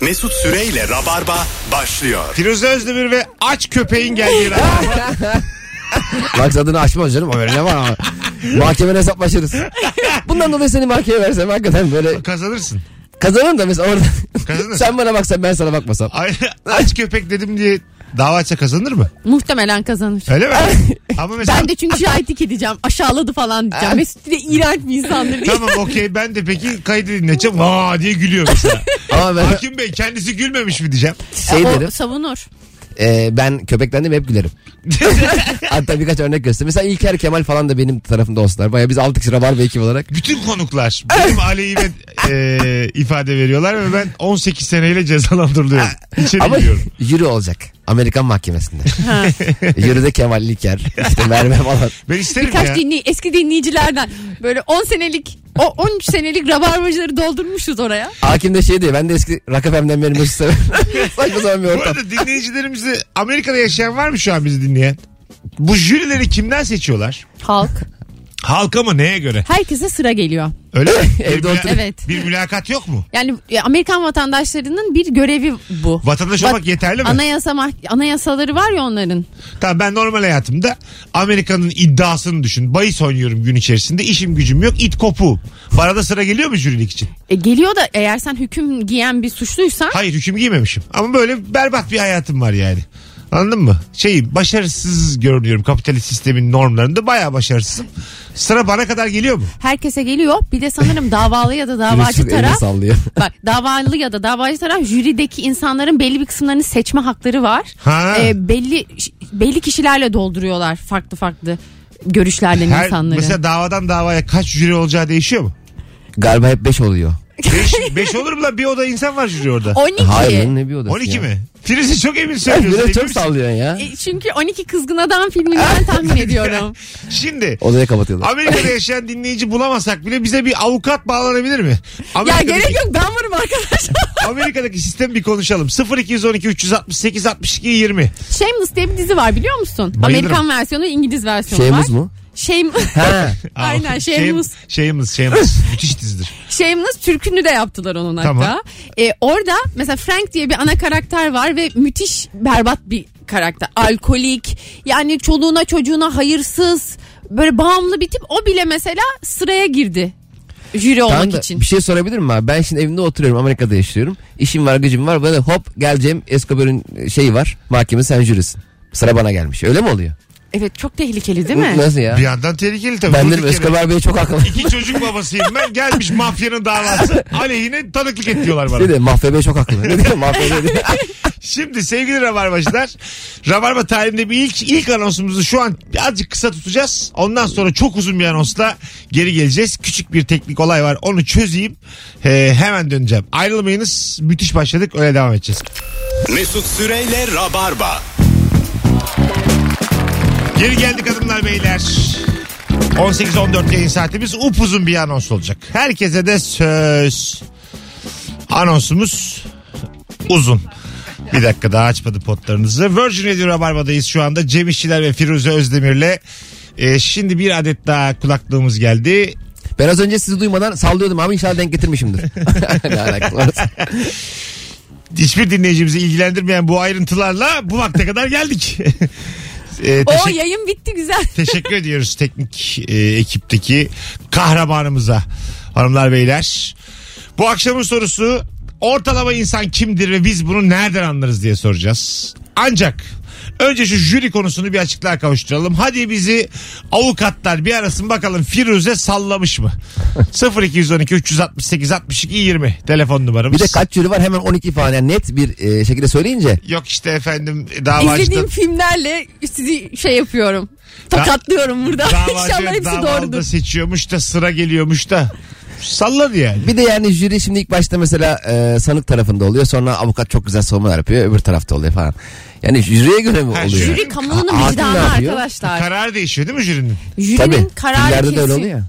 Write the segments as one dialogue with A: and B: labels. A: Mesut Süreyle Rabarba başlıyor.
B: Firuze Özdemir ve aç köpeğin geldiği Rabarba.
C: Maksadını aşmaz canım. Öyle ne var ama. Mahkemene hesaplaşırız. Bundan dolayı seni mahkemeye versem hakikaten böyle
B: kazanırsın.
C: kazanırım da mesela orada.
B: Kazanır.
C: sen bana baksan ben sana bakmasam.
B: Ay- aç köpek dedim diye dava açsa kazanır mı?
D: Muhtemelen kazanır.
B: Öyle mi? Ama mesela
D: Ben de çünkü şahitlik edeceğim. Aşağıladı falan diyeceğim. Mesut de iğrenç bir insandır diye.
B: tamam okey ben de peki kaydı dinleyeceğim. Vaa diye gülüyor mesela.
C: Ama ben
B: Hakim Bey kendisi gülmemiş mi diyeceğim.
C: şey
D: o
C: derim.
D: savunur.
C: e, ben köpeklendim hep gülerim. Hatta birkaç örnek göstereyim. Mesela İlker Kemal falan da benim tarafımda olsunlar. Baya biz 6 kişi rabar ve ekip olarak.
B: Bütün konuklar benim aleyhime e, ifade veriyorlar ve ben 18 seneyle cezalandırılıyorum. İçeri
C: Ama
B: giriyorum.
C: jüri olacak. Amerikan mahkemesinde. Jüride Kemal İlker. İşte Merve falan.
B: Ben isterim
D: Birkaç
B: ya.
D: dinley eski dinleyicilerden böyle 10 senelik o 13 senelik rabarbacıları doldurmuşuz oraya.
C: Hakim de şey diyor. Ben de eski Rock FM'den beri Mesut severim. Saçma sapan bir
B: Bu
C: ortam.
B: arada dinleyicilerimizi Amerika'da yaşayan var mı şu an bizi dinleyen? Bu jürileri kimden seçiyorlar?
D: Halk.
B: Halka mı neye göre?
D: Herkese sıra geliyor.
B: Öyle mi?
C: Evde
B: bir, müla-
C: oturup-
D: Evet.
B: bir mülakat yok mu?
D: Yani e, Amerikan vatandaşlarının bir görevi bu.
B: Vatandaş
D: Vat-
B: olmak yeterli mi?
D: Anayasa mah anayasaları var ya onların.
B: Tamam ben normal hayatımda Amerika'nın iddiasını düşün. Bayis oynuyorum gün içerisinde. İşim gücüm yok. it kopu. Bana da sıra geliyor mu jürilik için?
D: E, geliyor da eğer sen hüküm giyen bir suçluysan
B: Hayır hüküm giymemişim. Ama böyle berbat bir hayatım var yani. Anladın mı? Şey başarısız görünüyorum kapitalist sistemin normlarında. Bayağı başarısızım. Sıra bana kadar geliyor mu?
D: herkese geliyor. Bir de sanırım davalı ya da
C: Mesut
D: davacı
C: elini
D: taraf
C: sallıyor.
D: Bak davalı ya da davacı taraf jürideki insanların belli bir kısımlarını seçme hakları var.
B: Ha.
D: Ee, belli belli kişilerle dolduruyorlar farklı farklı görüşlerden
B: Her,
D: insanları.
B: mesela davadan davaya kaç jüri olacağı değişiyor mu?
C: Galiba hep 5 oluyor.
B: 5 olur mu lan? Bir oda insan var jüri orada.
D: 12.
C: Hayır lan ne bir odası
B: 12
C: ya.
B: mi? Firuze çok emin söylüyorsun.
C: Biraz
B: emin
C: çok
B: misin?
C: sallıyorsun ya.
D: E, Çünkü 12 kızgın adam filminden tahmin ediyorum.
B: Şimdi
C: Odaya kapatıyorlar.
B: Amerika'da yaşayan dinleyici bulamasak bile bize bir avukat bağlanabilir mi?
D: ya
B: Amerika'daki,
D: gerek yok ben varım arkadaşlar.
B: Amerika'daki sistemi bir konuşalım. 0212 368 62 20.
D: Shameless diye bir dizi var biliyor musun?
B: Bayılırım.
D: Amerikan versiyonu İngiliz versiyonu
C: Şeyimiz
D: var.
C: mu?
D: Shame-
C: Ha.
D: Aynen, Shameless.
B: Shameless. Shameless. Müthiş dizidir.
D: Shameless türkünü de yaptılar onun hatta.
B: Tamam.
D: E, orada mesela Frank diye bir ana karakter var ve müthiş berbat bir karakter. Alkolik yani çoluğuna çocuğuna hayırsız böyle bağımlı bir tip o bile mesela sıraya girdi jüri
C: Tamam
D: olmak
C: da
D: için.
C: Bir şey sorabilir miyim abi? Ben şimdi evimde oturuyorum Amerika'da yaşıyorum. İşim var gücüm var. Bana hop geleceğim Escobar'ın şeyi var. Mahkeme sen jürisin. Sıra bana gelmiş. Öyle mi oluyor?
D: Evet çok tehlikeli değil mi?
C: Nasıl ya?
B: Bir yandan tehlikeli tabii.
C: Ben dedim
B: Durduk yere
C: Escobar Bey çok akıllı.
B: İki çocuk babasıyım ben. Gelmiş mafyanın davası. Aleyhine tanıklık et diyorlar bana.
C: Ne dedi? Mafya Bey çok haklı. Ne dedi? Mafya Bey dedi.
B: Şimdi sevgili Rabarbacılar Rabarba tarihinde bir ilk ilk anonsumuzu şu an azıcık kısa tutacağız. Ondan sonra çok uzun bir anonsla geri geleceğiz. Küçük bir teknik olay var onu çözeyim. Ee, hemen döneceğim. Ayrılmayınız müthiş başladık öyle devam edeceğiz.
A: Mesut Süreyle Rabarba.
B: Geri geldik hanımlar beyler. 18-14 yayın saatimiz upuzun bir anons olacak. Herkese de söz. Anonsumuz uzun. Bir dakika daha açmadı potlarınızı. Virgin Radio Rabarba'dayız şu anda. Cem İşçiler ve Firuze Özdemir'le. Ee, şimdi bir adet daha kulaklığımız geldi.
C: Ben az önce sizi duymadan sallıyordum abi inşallah denk getirmişimdir. ne alakası var?
B: Hiçbir dinleyicimizi ilgilendirmeyen bu ayrıntılarla bu vakte kadar geldik. Ee,
D: O
B: teşekkür-
D: yayın bitti güzel.
B: Teşekkür ediyoruz teknik e, ekipteki kahramanımıza. Hanımlar beyler. Bu akşamın sorusu ortalama insan kimdir ve biz bunu nereden anlarız diye soracağız. Ancak önce şu jüri konusunu bir açıklığa kavuşturalım. Hadi bizi avukatlar bir arasın bakalım Firuze sallamış mı? 0212 368 62 20 telefon numaramız.
C: Bir de kaç jüri var hemen 12 falan yani net bir e, şekilde söyleyince
B: Yok işte efendim davacıda
D: İzlediğim filmlerle sizi şey yapıyorum. Tokatlıyorum burada. İnşallah
B: davacı
D: hepsi
B: davada
D: doğrudur.
B: seçiyormuş da sıra geliyormuş da salladı yani.
C: Bir de yani jüri şimdi ilk başta mesela e, sanık tarafında oluyor. Sonra avukat çok güzel savunmalar yapıyor. Öbür tarafta oluyor falan. Yani jüriye göre mi
B: Ha,
C: oluyor?
B: jüri
D: Jüri kamunun
C: Ha-
D: vicdanı
C: hakim ne yapıyor?
D: arkadaşlar.
B: Karar değişiyor değil mi jürinin?
D: Jürinin
C: Tabii.
D: kararı
C: Filmlerde
D: kesin. E,
C: de öyle oluyor ya.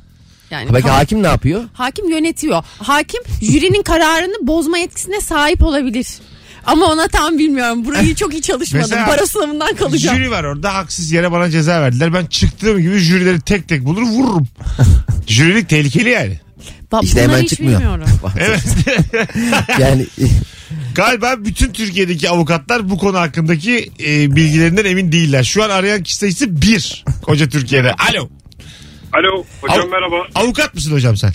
D: Yani
C: Belki
D: kamu-
C: hakim ne yapıyor?
D: Hakim yönetiyor. Hakim jürinin kararını bozma yetkisine sahip olabilir. Ama ona tam bilmiyorum. Burayı çok iyi çalışmadım.
B: Mesela-
D: Para sınavından kalacağım.
B: Jüri var orada haksız yere bana ceza verdiler. Ben çıktığım gibi jürileri tek tek bulur vururum. Jürilik tehlikeli yani.
D: Ba-
C: İşte hemen
D: bunları hiç
C: çıkmıyor.
D: bilmiyorum.
B: Evet.
C: Yani şey
B: Galiba bütün Türkiye'deki avukatlar bu konu hakkındaki e, bilgilerinden emin değiller. Şu an arayan kişi sayısı bir koca Türkiye'de. Alo.
E: Alo hocam
B: Av-
E: merhaba.
B: Avukat mısın hocam sen?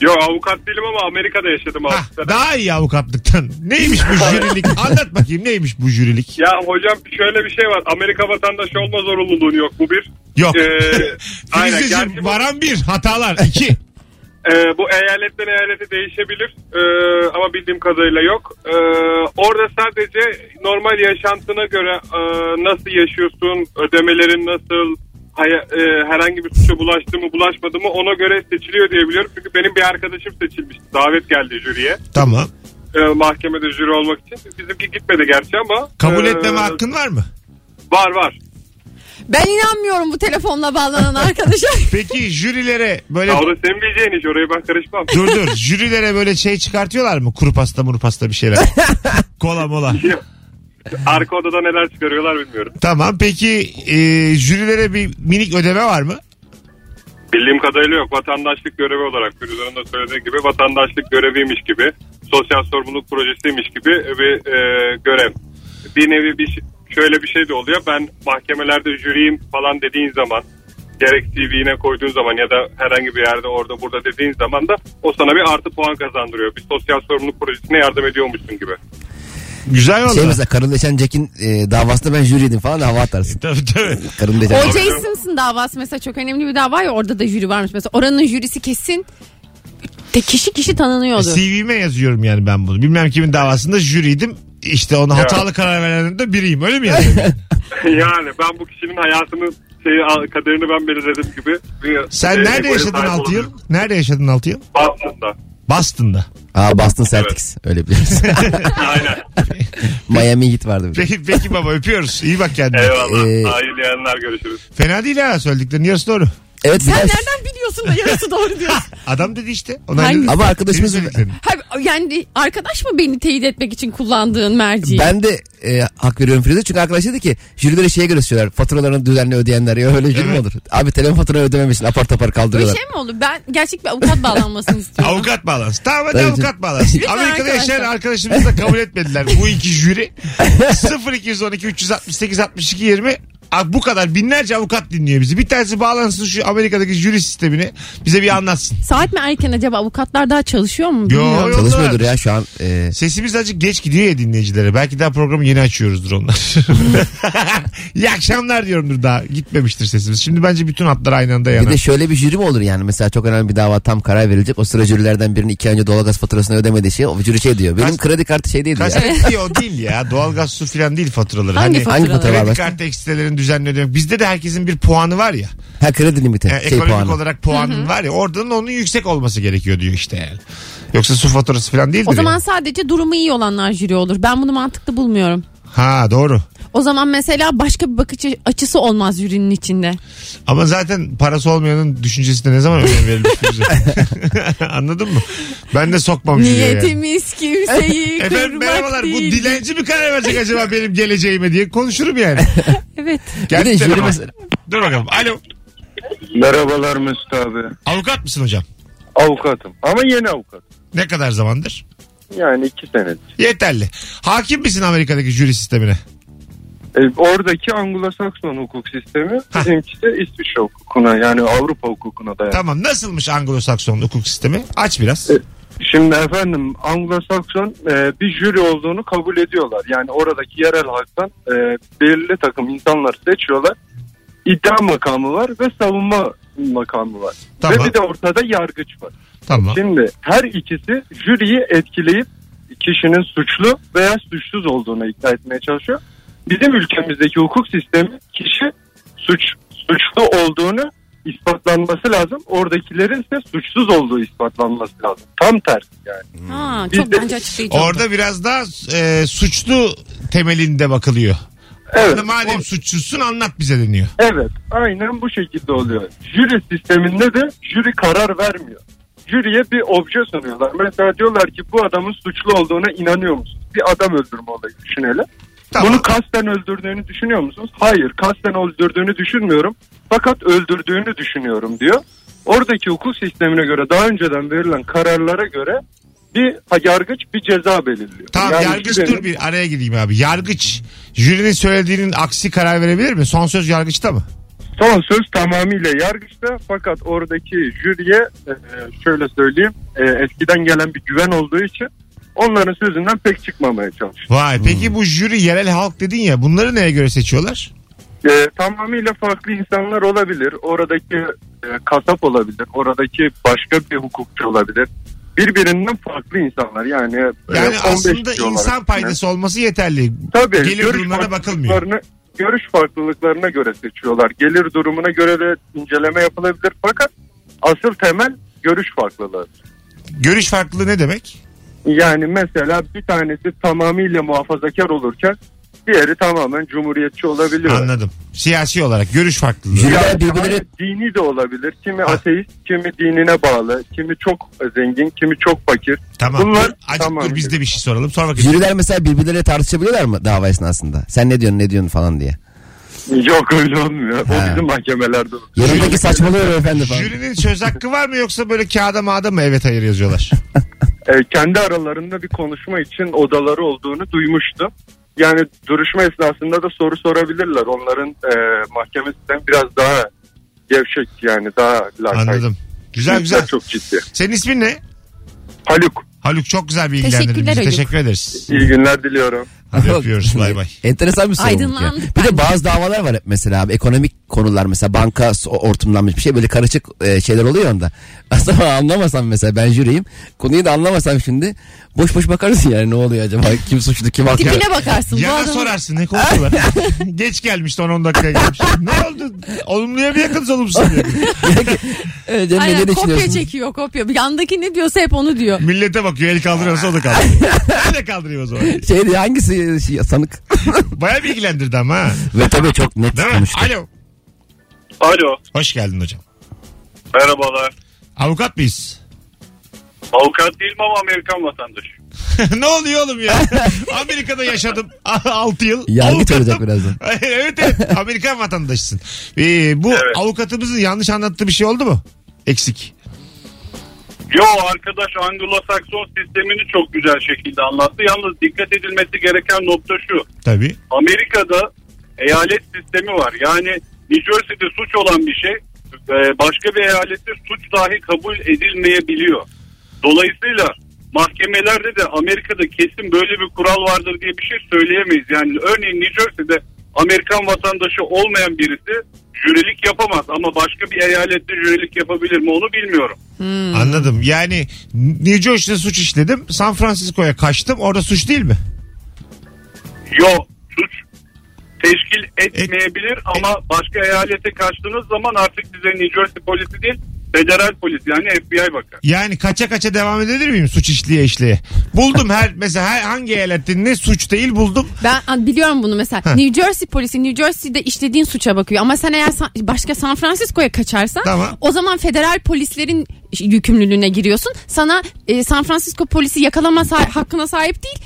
E: Yo avukat değilim ama Amerika'da yaşadım
B: Hah,
E: altı sene.
B: daha iyi avukatlıktan. Neymiş bu jürilik? Anlat bakayım neymiş bu jürilik?
E: Ya hocam şöyle bir şey var. Amerika vatandaşı olma zorunluluğun yok bu bir.
B: Yok.
E: Ee, aynen,
B: Filizciğim
E: gerçi bu,
B: varan bir hatalar iki.
E: e, bu eyaletten eyalete değişebilir. E, ama bildiğim kadarıyla yok. E, orada sadece normal yaşantına göre e, nasıl yaşıyorsun, ödemelerin nasıl, haya- e, herhangi bir suça bulaştı mı bulaşmadı mı ona göre seçiliyor diye biliyorum. Çünkü benim bir arkadaşım seçilmişti. Davet geldi jüriye.
B: Tamam.
E: e, mahkemede jüri olmak için. Bizimki gitmedi gerçi ama.
B: Kabul
E: e,
B: etmeme hakkın var mı?
E: Var var.
D: Ben inanmıyorum bu telefonla bağlanan arkadaşa.
B: Peki jürilere böyle
E: Ya o da senin bileceğin iş oraya ben karışmam.
B: dur dur jürilere böyle şey çıkartıyorlar mı? Kuru pasta muru pasta bir şeyler. Kola mola.
E: Arka odada neler çıkarıyorlar bilmiyorum.
B: Tamam peki e, jürilere bir minik ödeme var mı?
E: Bildiğim kadarıyla yok. Vatandaşlık görevi olarak Firuza'nın da söylediği gibi vatandaşlık göreviymiş gibi, sosyal sorumluluk projesiymiş gibi bir e, görev. Bir nevi bir şey- şöyle bir şey de oluyor. Ben mahkemelerde jüriyim falan dediğin zaman gerek CV'ne koyduğun zaman ya da herhangi bir yerde orada burada dediğin zaman da o sana bir artı puan kazandırıyor. Bir sosyal sorumluluk projesine yardım ediyormuşsun gibi.
B: Güzel
C: Şey
B: oldu.
C: mesela karınleşen Jack'in e, davasında ben jüriydim falan hava atarsın.
B: Tabii tabii.
C: Karınleşen
D: O.J. Simpson davası mesela çok önemli bir dava ya orada da jüri varmış. Mesela oranın jürisi kesin de kişi kişi
C: E,
D: tanınıyordu.
B: CV'me E, yazıyorum yani ben bunu. Bilmem kimin davasında jüriydim. İşte ona hatalı karar verenlerden de biriyim. Öyle mi yazıyorum?
E: yani ben bu kişinin hayatını şeyi, kaderini ben belirledim gibi. bir-
B: Sen
E: Şey, bir
B: nerede
E: egoya
B: yaşadın
E: sahip
B: 6 yıl?
E: olabilirim.
B: Nerede yaşadın 6 yıl?
E: Aslında.
B: Boston'da.
C: Aa Boston Celtics öyle biliriz.
E: Aynen.
C: Miami Heat vardı. bir de.
B: Peki, peki baba öpüyoruz. İyi bak kendine.
E: Eyvallah.
C: Ee,
E: Hayırlı yayınlar görüşürüz.
B: Fena değil ha söylediklerin yarısı doğru.
C: Evet
D: Sen
C: bir de-
D: nereden biliyorsun da yarısı doğru diyorsun?
B: Adam dedi işte. Ona
D: Hangisi?
B: dedi.
C: Ama arkadaşımız-
B: Senin söylediklerin.
D: Ha, yani arkadaş mı beni teyit etmek için kullandığın merci?
C: Ben de e, hak veriyorum Firuze. Çünkü arkadaş dedi ki jürilere şeye göre söylüyorlar. Faturalarını düzenli ödeyenler. Ya öyle jüri mi
B: Evet.
C: olur? Abi telefon faturayı ödememişsin. Apar topar
D: Bir
C: kaldırıyorlar.
D: şey mi olur? Ben gerçek bir avukat bağlanmasını istiyorum.
B: Avukat bağlansı. Tamam hadi
C: Evet.
B: avukat bağlansı.
D: Lütfen
B: Amerika'da yaşayan
D: arkadaşlar.
B: arkadaşımız da kabul etmediler. Bu iki jüri 0212 368 62 20 Abi bu kadar binlerce avukat dinliyor bizi. Bir tanesi bağlansın şu Amerika'daki jüri sistemini bize bir anlatsın.
D: Saat mi erken acaba avukatlar daha çalışıyor mu?
B: Yo,
D: Bilmiyorum.
B: yo.
C: Çalışmıyordur ya şu an. E,
B: Sesimiz azıcık geç gidiyor ya dinleyicilere. Belki daha programı yeni açıyoruzdur onlar. İyi akşamlar diyorumdur daha. Gitmemiştir sesimiz. Şimdi bence bütün hatlar aynı anda
C: bir
B: yanar.
C: de şöyle bir jüri mi olur yani? Mesela çok önemli bir dava tam karar verilecek. O sıra jürilerden birinin iki ay önce doğalgaz faturasını ödemediği şey. O jüri şey diyor. Benim
B: Kaç-
C: kredi kartı şey değil diyor.
B: Kaç diyor o değil ya. Doğalgaz su filan değil faturaları.
D: Hangi
B: hani,
D: faturalar?
C: Hangi faturalar
B: Kredi
C: var?
B: kartı ekstrelerini düzenli ödemek. Bizde de herkesin bir puanı var ya.
C: Ha kredi limiti.
B: Yani
C: şey
B: E, ekonomik
C: puanı.
B: olarak puanın var ya. Oradan onun yüksek olması gerekiyor diyor işte yani. Yoksa su faturası falan değildir.
D: O zaman
B: yani.
D: sadece durumu iyi olanlar jüri olur. Ben bunu mantıklı bulmuyorum.
B: Ha doğru.
D: O zaman mesela başka bir bakış açısı olmaz jürinin içinde.
B: Ama zaten parası olmayanın düşüncesine ne zaman önem verilmiş bize? Anladın mı? Ben de sokmam şuraya yani.
D: Niyetimiz kimseyi kırmak
B: Efendim merhabalar bu
D: değil.
B: dilenci mi karar verecek acaba benim geleceğime diye konuşurum yani.
D: Evet.
C: Bir de
B: Geldi
C: jüri
B: telefon.
C: mesela.
B: Dur bakalım. Alo.
F: Merhabalar Mesut abi.
B: Avukat mısın hocam?
F: Avukatım ama yeni avukat.
B: Ne kadar zamandır?
F: Yani iki senedir.
B: Yeterli. Hakim misin Amerika'daki jüri sistemine?
F: E, oradaki Anglo-Sakson hukuk sistemi
B: Hah.
F: bizimki de İsviçre hukukuna yani Avrupa hukukuna dayanıyor.
B: Tamam. Nasılmış Anglo-Sakson hukuk sistemi? Aç biraz.
F: Evet. Şimdi efendim Anglo-Sakson e, bir jüri olduğunu kabul ediyorlar. Yani oradaki yerel halktan e, belirli takım insanlar seçiyorlar. İddia makamı var ve savunma makamı var.
B: Tamam.
F: Ve bir de ortada yargıç var.
B: Tamam.
F: Şimdi her ikisi jüriyi etkileyip kişinin suçlu veya suçsuz olduğuna ikna etmeye çalışıyor. Bizim ülkemizdeki hukuk sistemi kişi suç suçlu olduğunu ispatlanması lazım. Oradakilerin ise suçsuz olduğu ispatlanması lazım. Tam tersi yani.
D: Ha, çok bence açıklayıcı. oldu.
B: Orada biraz daha e, suçlu temelinde bakılıyor.
F: Evet.
B: Madem
F: o-
B: suçsuzsun anlat bize deniyor.
F: evet. Aynen bu şekilde oluyor. Jüri sisteminde de jüri karar vermiyor. Jüriye bir obje sunuyorlar. Mesela diyorlar ki bu adamın suçlu olduğuna inanıyor musun? Bir adam öldürme olayı düşünelim.
B: Tamam.
F: Bunu kasten öldürdüğünü düşünüyor musunuz? Hayır kasten öldürdüğünü düşünmüyorum. Fakat öldürdüğünü düşünüyorum diyor. Oradaki hukuk sistemine göre daha önceden verilen kararlara göre bir ha- yargıç bir ceza belirliyor.
B: Tamam
F: Yani
B: yargıç
F: jürinin-
B: dur bir araya gireyim abi. Yargıç jürinin söylediğinin aksi karar verebilir mi? Son söz yargıçta mı?
F: Son söz tamamıyla yargıçta fakat oradaki jüriye e, şöyle söyleyeyim e, eskiden gelen bir güven olduğu için onların sözünden pek çıkmamaya çalışıyor.
B: Vay
F: Hmm.
B: peki bu jüri yerel halk dedin ya bunları neye göre seçiyorlar?
F: E, tamamıyla farklı insanlar olabilir. Oradaki e, kasap olabilir. Oradaki başka bir hukukçu olabilir. Birbirinden farklı insanlar yani. e,
B: Yani
F: 15
B: aslında
F: kişi olarak.
B: insan faydası olması yeterli.
F: Tabii.
B: Gelir durumlarına bakılmıyor.
F: farklılıklarını- Görüş farklılıklarına göre seçiyorlar. Gelir durumuna göre de inceleme yapılabilir fakat asıl temel görüş farklılığı.
B: Görüş farklılığı ne demek?
F: Yani mesela bir tanesi tamamıyla muhafazakar olurken diğeri tamamen cumhuriyetçi olabiliyor.
B: Anladım. Siyasi olarak görüş farklılığı.
C: Jüri-
F: Yani
C: Birbirleri-
F: tamamen dini de olabilir. Kimi ateist, kimi dinine bağlı, kimi çok zengin, kimi çok fakir.
B: Tamam.
F: Bunlar
B: Acık
F: tamam.
B: dur biz de bir şey soralım. Sonra bakacağız.
C: Jüriler mesela birbirleriyle tartışabiliyorlar mı dava esnasında? Sen ne diyorsun ne diyorsun falan diye.
F: Yok öyle olmuyor.
C: Ha.
F: O bizim mahkemelerde. olur.
C: Yanındaki saçmalıyor efendi falan.
B: Jürinin söz hakkı var mı yoksa böyle kağıda mağda mı evet hayır yazıyorlar?
F: e, kendi aralarında bir konuşma için odaları olduğunu duymuştum. Yani duruşma esnasında da soru sorabilirler. Onların e, mahkemesinden biraz daha gevşek yani daha lakayt.
B: Anladım. Güzel güzel.
F: Çok ciddi.
B: Senin ismin ne?
F: Haluk
B: Haluk çok güzel bilgilendirdin
D: Teşekkürler
B: bizi.
D: Haluk.
B: Teşekkür ederiz.
F: iyi günler diliyorum.
B: Hadi öpüyoruz. Bay bay.
C: Enteresan bir sorumluluk ya.
D: Aydınlandık
C: Bir de bazı davalar var hep mesela abi. Ekonomik konular mesela banka so- ortamlanmış bir şey böyle karışık e, şeyler oluyor ya onda. Aslında anlamasam mesela ben jüriyim. Konuyu da anlamasam şimdi boş boş bakarsın yani ne oluyor acaba kim suçlu kim haklı.
D: Tipine bakarsın. bu
B: Ya da
D: adamın-
B: sorarsın ne konuşuyorlar. Geç gelmişti 10-10 dakika gelmiş. ne oldu? Olumluya mı yakınız olumsuz mu? yakınız?
C: Evet, Cem, E, ne
D: Aynen kopya
C: düşünüyorsun?
D: çekiyor kopya. Yandaki ne diyorsa hep onu diyor.
B: Millete bakıyor el kaldırıyorsa o da kaldırıyor. Ben de kaldırayım o zaman.
C: Şey diye, hangisi şey, sanık?
B: Baya bilgilendirdi ama ha.
C: Ve tabii çok net
B: Değil mi?
C: konuştu.
B: Alo.
E: Alo.
B: Hoş geldin hocam.
E: Merhabalar.
B: Avukat mıyız?
E: Avukat değilim ama Amerikan vatandaşı.
B: ne oluyor oğlum ya? Amerika'da yaşadım 6 yıl.
C: Yargıç
B: Avukatım.
C: olacak birazdan.
B: evet evet Amerikan vatandaşısın. Ee, bu
E: Evet.
B: avukatımızın yanlış anlattığı bir şey oldu mu? Eksik.
E: Yo arkadaş Anglo-Sakson sistemini çok güzel şekilde anlattı. Yalnız dikkat edilmesi gereken nokta şu.
B: Tabii.
E: Amerika'da eyalet sistemi var. Yani New Jersey'de suç olan bir şey e, başka bir eyalette suç dahi kabul edilmeyebiliyor. Dolayısıyla mahkemelerde de Amerika'da kesin böyle bir kural vardır diye bir şey söyleyemeyiz. Yani örneğin New Jersey'de Amerikan vatandaşı olmayan birisi jürilik yapamaz ama başka bir eyalette jürilik yapabilir mi onu bilmiyorum.
B: Anladım. Yani New Jersey'de suç işledim. San Francisco'ya kaçtım. Orada suç değil mi?
E: Yo suç teşkil etmeyebilir ama başka eyalete kaçtığınız zaman artık size New Jersey polisi değil federal polis yani FBI bakar.
B: Yani kaça kaça devam edebilir miyim suç işliye işliye? Buldum her mesela her, hangi eyalette ne suç değil buldum.
D: Ben an- biliyorum bunu mesela. New Jersey polisi New Jersey'de işlediğin suça bakıyor. Ama sen eğer San- başka San Francisco'ya kaçarsan
B: Tamam.
D: o zaman federal polislerin yükümlülüğüne giriyorsun. Sana e, San Francisco polisi yakalama sa- hakkına sahip değil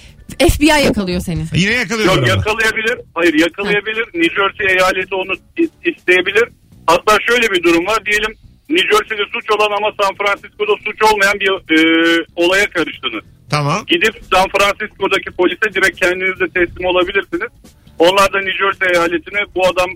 D: FBI yakalıyor seni.
B: Yine yakalıyorum.
E: Yok
B: ama.
E: yakalayabilir. Hayır yakalayabilir. New Jersey eyaleti onu i- isteyebilir. Hatta şöyle bir durum var. Diyelim New Jersey'de suç olan ama San Francisco'da suç olmayan bir e, olaya karıştınız.
B: Tamam.
E: Gidip San Francisco'daki polise direkt kendiniz de teslim olabilirsiniz. Onlar da New Jersey eyaletine bu adam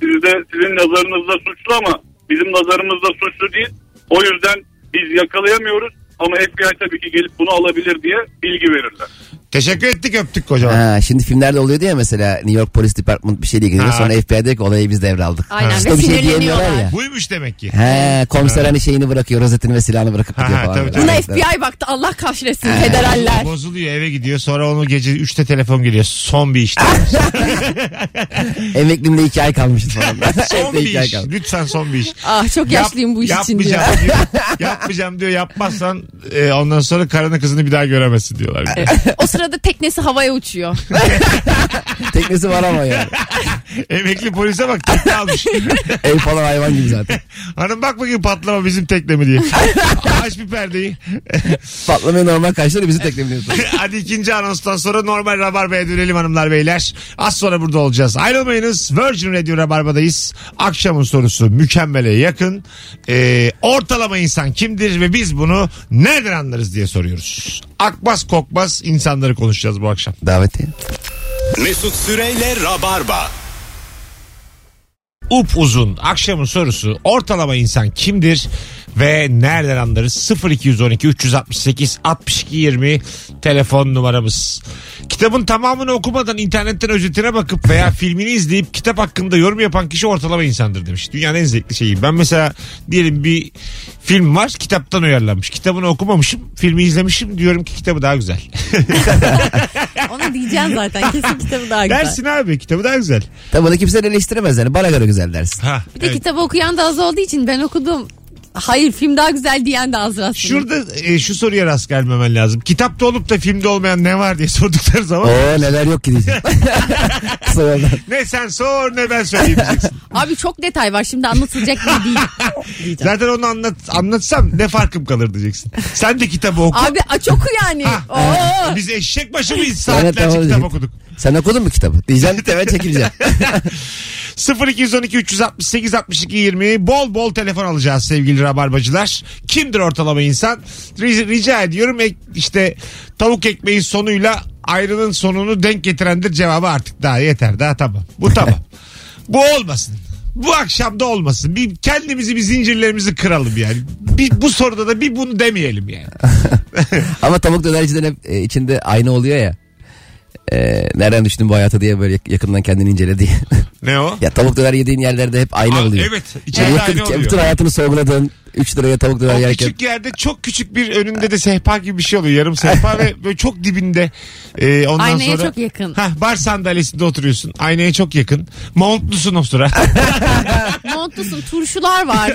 E: sizde, sizin nazarınızda suçlu ama bizim nazarımızda suçlu değil. O yüzden biz yakalayamıyoruz ama FBI tabii ki gelip bunu alabilir diye bilgi verirler.
B: Teşekkür ettik öptük kocaman.
C: Ha, şimdi filmlerde oluyordu ya mesela New York Polis Department bir şeyle giriyor.
B: Ha.
C: Sonra FBI diyor ki olayı biz devraldık.
D: Aynen,
C: Usta
D: ve
C: bir şey
D: sinirleniyorlar.
C: diyemiyorlar ya.
B: Buymuş demek ki.
C: He, komiser hani şeyini bırakıyor rozetini ve silahını bırakıp
B: Ha,
C: gidiyor
B: ha,
C: falan.
B: tabii,
C: böyle.
B: tabii.
D: Buna
C: Evet, evet.
D: FBI baktı Allah kahretsin federaller.
B: Bozuluyor eve gidiyor sonra onu gece 3'te telefon geliyor. Son bir iş.
C: Emeklimde iki ay kalmıştı falan.
B: son
C: Emeklimde iki
B: bir
C: ay
B: iş.
C: kalmış.
B: Lütfen son bir iş.
D: Ah çok yaşlıyım bu iş için diyor.
B: yapmayacağım diyor. yapmayacağım diyor. Yapmazsan e, ondan sonra karını kızını bir daha göremezsin diyorlar. bir de.
D: o sırada teknesi havaya uçuyor.
C: Teknesi var ama yani.
B: Emekli polise bak tekne almış.
C: Ev falan hayvan gibi zaten.
B: Hanım bak bakayım patlama bizim tekne mi diye. Aç bir perdeyi.
C: Patlamaya normal karşıları bizi teklemiyorsun.
B: Hadi ikinci anonstan sonra normal Rabarba'ya dönelim hanımlar beyler. Az sonra burada olacağız. Ayrılmayınız. Virgin Radio Rabarba'dayız. Akşamın sorusu mükemmele yakın. Ee, ortalama insan kimdir ve biz bunu nereden anlarız diye soruyoruz. Akbas kokbas insanları konuşacağız bu akşam.
C: Davetiye.
A: Mesut Süreyle Rabarba.
B: Up uzun akşamın sorusu ortalama insan kimdir ve nereden anlarız? 0212 368 62 20 telefon numaramız. Kitabın tamamını okumadan internetten özetine bakıp veya filmini izleyip kitap hakkında yorum yapan kişi ortalama insandır demiş. Dünyanın en zevkli şeyi. Ben mesela diyelim bir film var kitaptan uyarlanmış. Kitabını okumamışım filmi izlemişim diyorum ki kitabı daha güzel.
D: Onu diyeceğim zaten. Kesin kitabı daha güzel.
B: Dersin abi kitabı daha güzel.
C: Tabi bunu kimse eleştiremez yani. Bana göre güzel dersin.
B: Ha,
D: Bir de
B: evet.
D: kitabı okuyan da az olduğu için ben okudum. Hayır film daha güzel diyen de az aslında.
B: Şurada e, şu soruya rast gelmemen lazım. Kitapta olup da filmde olmayan ne var diye sordukları zaman
C: Oo neler yok ki diyeceğim. Kısa yoldan.
B: ne sen sor ne ben söyleyeyim diyeceksin.
D: Abi çok detay var şimdi anlatılacak gibi değil. Diyeceğim.
B: Zaten onu anlat anlatsam ne farkım kalır diyeceksin. Sen de kitabı oku.
D: Abi aç oku yani. Oo.
B: Biz eşek başı mıyız
C: Evet,
B: saatlerce
C: tamam.
B: kitap okuduk.
C: Sen okudun mu kitabı? Diyeceğim hemen çekileceğim.
B: 0212 368 62 20 bol bol telefon alacağız sevgili rabarbacılar. Kimdir ortalama insan? Rica, rica ediyorum ek- işte tavuk ekmeği sonuyla ayrının sonunu denk getirendir cevabı artık daha yeter daha tamam. Bu tamam. Bu olmasın. Bu akşam da olmasın. Bir kendimizi bir zincirlerimizi kıralım yani. Bir, bu soruda da bir bunu demeyelim yani.
C: Ama tavuk dönerciden hep e, içinde ayna oluyor ya. E, nereden düştün bu hayata diye böyle yak- yakından kendini inceledi.
B: Ne o?
C: ya tavuk döner yediğin yerlerde hep ayna
B: Aa,
C: oluyor.
B: evet, içeride
C: Yani
B: ayna
C: yakın,
B: oluyor.
C: bütün hayatını sorguladın. 3 liraya tavuk döner
B: O
C: yerken.
B: küçük yerde çok küçük bir önünde de sehpa gibi bir şey oluyor. Yarım sehpa ve böyle çok dibinde. Ee, ondan
D: Aynaya
B: sonra,
D: çok yakın.
B: Hah, bar sandalyesinde oturuyorsun. Aynaya çok yakın. Montlusun o sıra.
D: Montlusun turşular var.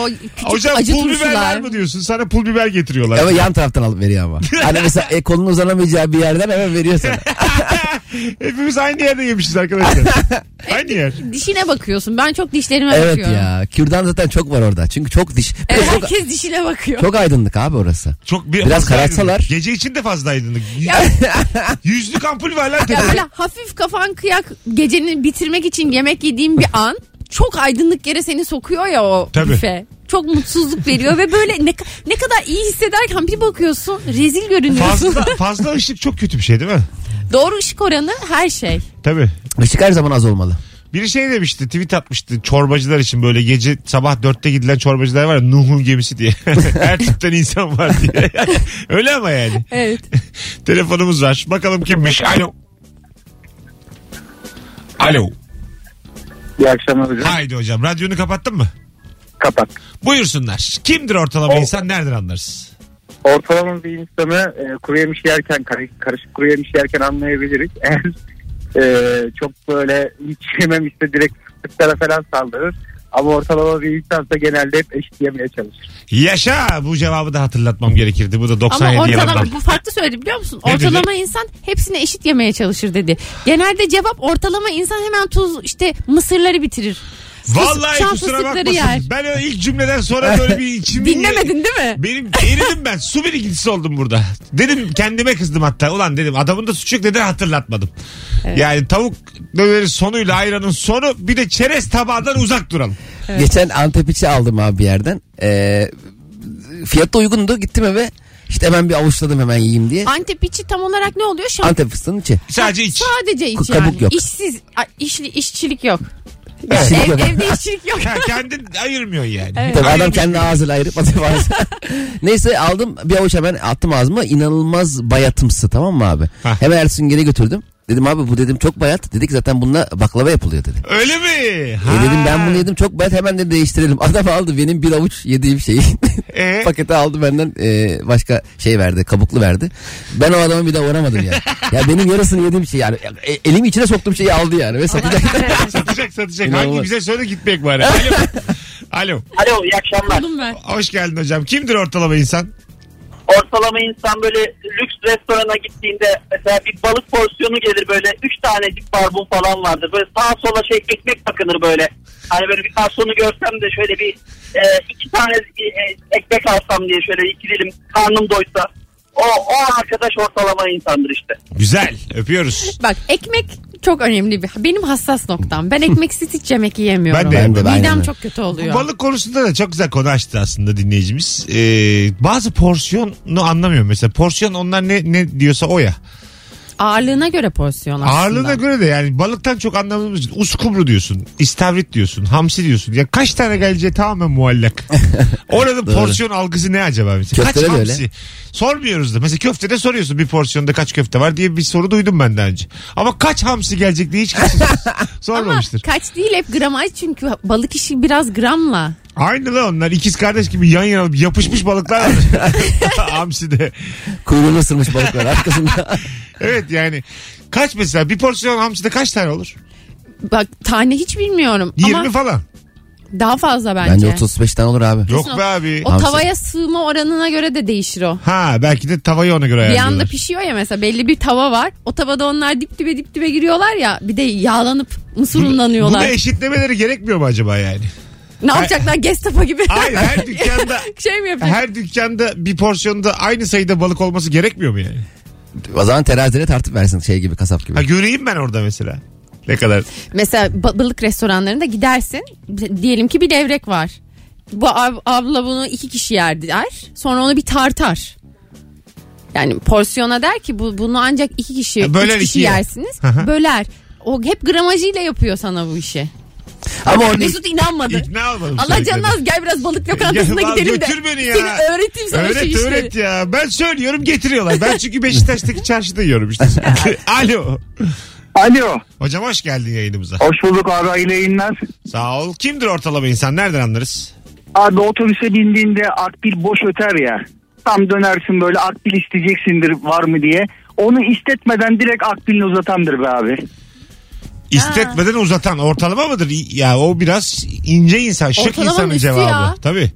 D: o küçük
B: Hocam
D: acı
B: pul biber var
D: turşular.
B: mı diyorsun. Sana pul biber getiriyorlar.
C: Ama yan taraftan alıp veriyor ama. Hani mesela e, kolun uzanamayacağı bir yerden hemen veriyor sana.
B: Hepimiz aynı yerde yemişiz arkadaşlar. aynı yer.
D: Dişine bakıyorsun. Ben çok dişlerime
C: evet
D: bakıyorum.
C: ya. Kürdan zaten çok var orada. Çünkü çok diş. Bir de
D: Evet,
C: çok,
D: herkes dişine bakıyor.
C: çok aydınlık abi orası.
B: Çok
C: Biraz
B: fazla
C: karartsalar.
B: aydınlık. Gece için de fazla aydınlık. Yüzlük ampul var lan
D: Ya
B: tepede.
D: böyle hafif kafan kıyak gecenin bitirmek için yemek yediğin bir an çok aydınlık yere seni sokuyor ya o
B: Tabii.
D: büfe. Çok mutsuzluk veriyor ve böyle ne, ne kadar iyi hissederken bir bakıyorsun rezil görünüyorsun.
B: Fazla, fazla ışık çok kötü bir şey değil mi?
D: Doğru ışık oranı her şey.
B: Tabii.
C: Işık her zaman az olmalı.
B: Biri şey demişti tweet atmıştı çorbacılar için böyle gece sabah dörtte gidilen çorbacılar var ya Nuh'un gemisi diye. Her tipten insan var diye. Öyle ama yani.
D: Evet.
B: Telefonumuz var. Bakalım kimmiş. Alo. Alo.
F: İyi akşamlar hocam.
B: Haydi hocam radyonu kapattın mı?
F: Kapat.
B: Buyursunlar. Kimdir ortalama
F: O-
B: insan nereden anlarız?
F: Ortalama bir insanı e, kuru yemiş yerken, kar- karışık kuru yemiş yerken anlayabiliriz. Eğer e, çok böyle hiç yememişse direkt fıstıklara falan saldırır. Ama ortalama bir insansa genelde hep eşit yemeye çalışır.
B: Yaşa bu cevabı da hatırlatmam gerekirdi. Bu da
D: Ama
B: 97
D: ortalama
B: yılından.
D: bu farklı söyledi biliyor musun?
B: Ne dedi?
D: Ortalama insan hepsine eşit yemeye çalışır dedi. Genelde cevap ortalama insan hemen tuz işte mısırları bitirir. Fıs-
B: Vallahi
D: çam
B: kusura
D: fıstıkları
B: bakmasın.
D: yer.
B: Ben o ilk cümleden sonra böyle bir içim...
D: Dinlemedin değil mi?
B: Benim eridim ben. Su birikintisi oldum burada. Dedim kendime kızdım hatta. Ulan dedim adamın da suçu yok neden hatırlatmadım. Yani tavuk döneri sonuyla ayranın sonu bir de çerez tabağından uzak duralım.
C: Geçen Antep içi aldım abi bir yerden. Ee, fiyat da uygundu. Gittim eve. İşte hemen bir avuçladım hemen yiyeyim diye.
D: Antep içi tam olarak ne oluyor? Şam
C: Antep fıstığının içi.
B: Sadece iç.
D: Sadece iç
C: Kabuk
D: yani.
C: yok.
D: İşsiz, a- işli, işçilik yok.
C: Evet.
D: Ev- evde işçilik yok.
B: Ha, kendin ayırmıyorsun yani.
C: Tabii adam kendi ağzıyla ayırıp atıyor ağzına. Neyse aldım bir avuç hemen attım ağzıma. İnanılmaz bayatımsı tamam mı abi?
B: Hah.
C: Hemen Ersin geri götürdüm. Dedim abi bu dedim çok bayat. Dedi ki zaten bununla baklava yapılıyor dedi.
B: Öyle mi?
C: E
B: Ha.
C: dedim ben bunu yedim çok bayat hemen de değiştirelim. Adam aldı benim bir avuç yediğim şeyi.
B: E?
C: Paketi aldı benden e, başka şey verdi kabuklu verdi. Ben o adama bir daha uğramadım ya. ya benim yarısını yediğim şey yani e, elimi içine soktuğum şeyi aldı yani. Ve satacak.
B: Satacak satacak.
C: İnanılmaz.
B: Hangi bize söyle gitmek var. Alo. Alo.
G: Alo iyi akşamlar.
D: Oğlum ben.
B: Hoş geldin hocam. Kimdir ortalama insan?
G: ortalama insan böyle lüks restorana gittiğinde mesela bir balık porsiyonu gelir böyle 3 tanecik barbun falan vardır. Böyle sağa sola şey ekmek takınır böyle. Hani böyle bir garsonu görsem de şöyle bir e, iki tane e, ekmek alsam diye şöyle iki dilim karnım doysa. O, o arkadaş ortalama insandır işte.
B: Güzel. Öpüyoruz.
D: Bak ekmek çok önemli bir benim hassas noktam. Ben ekmeksiz hiç yemek yiyemiyorum.
B: Ben de. Ben de,
C: ben
D: Midem
C: de.
D: çok kötü oluyor.
B: Balık konusunda da çok güzel konu açtı aslında dinleyicimiz. Ee, bazı porsiyonu anlamıyorum mesela. Porsiyon onlar ne, ne diyorsa o ya.
D: Ağırlığına göre porsiyon aslında.
B: Ağırlığına göre de yani balıktan çok anlamamız için uskumru diyorsun, istavrit diyorsun, hamsi diyorsun. Ya kaç tane geleceği tamamen muallak. Oranın porsiyon algısı ne acaba? Mesela? Kaç
C: Köfte de
B: hamsi?
C: böyle.
B: Sormuyoruz da. Mesela köftede soruyorsun bir porsiyonda kaç köfte var diye bir soru duydum ben daha önce. Ama kaç hamsi gelecek diye hiç kimse
D: Ama
B: sormamıştır.
D: kaç değil hep gramaj çünkü balık işi biraz gramla.
B: Aynı lan onlar ikiz kardeş gibi yan yana yapışmış balıklar var. hamsi de.
C: Kuyruğunu ısırmış balıklar arkasında.
B: Evet yani kaç mesela bir porsiyon hamside kaç tane olur?
D: Bak tane hiç bilmiyorum
B: 20
D: ama
B: falan.
D: daha fazla bence.
C: Bence 35 tane olur abi.
B: Yok be abi.
D: O
C: Hamsi.
D: tavaya sığma oranına göre de değişir o.
B: Ha belki de tavayı ona göre
D: Bir anda
B: ayarlıyorlar.
D: pişiyor ya mesela belli bir tava var. O tavada onlar dip dibe dip dibe giriyorlar ya. Bir de yağlanıp mısır unlanıyorlar.
B: Bunu eşitlemeleri gerekmiyor mu acaba yani?
D: Ne yapacaklar Gestapo gibi.
B: Hayır her dükkanda
D: şey mi yapacak?
B: her dükkanda bir porsiyonda aynı sayıda balık olması gerekmiyor mu yani?
C: O zaman terazileri tartıp versin şey gibi kasap gibi.
B: Ha göreyim ben orada mesela. Ne kadar?
D: Mesela ba- balık restoranlarında gidersin. B- Diyelim ki bir levrek var. Bu ab- abla bunu iki kişi yer der. Sonra onu bir tartar. Yani porsiyona der ki bu bunu ancak iki kişi,
B: Ha, böler
D: üç kişi
B: ikiye.
D: yersiniz.
B: Aha.
D: Böler. O hep gramajıyla yapıyor sana bu işi.
C: Ama orada
D: Mesut inanmadı.
B: İkna olmadım.
D: Allah
B: söylediklerine.
D: canına az gel biraz balık lokantasına
B: Ya, lan
D: gidelim de.
B: götür beni ya.
D: Seni öğreteyim sana şey şu
B: Öğret
D: işleri.
B: öğret ya. Ben söylüyorum getiriyorlar. Ben çünkü Beşiktaş'taki çarşıda yiyorum işte. Alo.
H: Alo.
B: Hocam hoş geldin yayınımıza.
H: Hoş bulduk abi hayırlı yayınlar.
B: Sağ ol. Kimdir ortalama insan? Nereden anlarız?
H: Abi otobüse bindiğinde akbil boş öter ya. Tam dönersin böyle akbil isteyeceksindir var mı diye. Onu istetmeden direkt akbilini uzatandır be abi.
B: İstetmeden uzatan ortalama mıdır? Ya o biraz ince insan, şık
D: Ortalamanın
B: insanın
D: üstü
B: cevabı.
D: ya.
B: Tabii.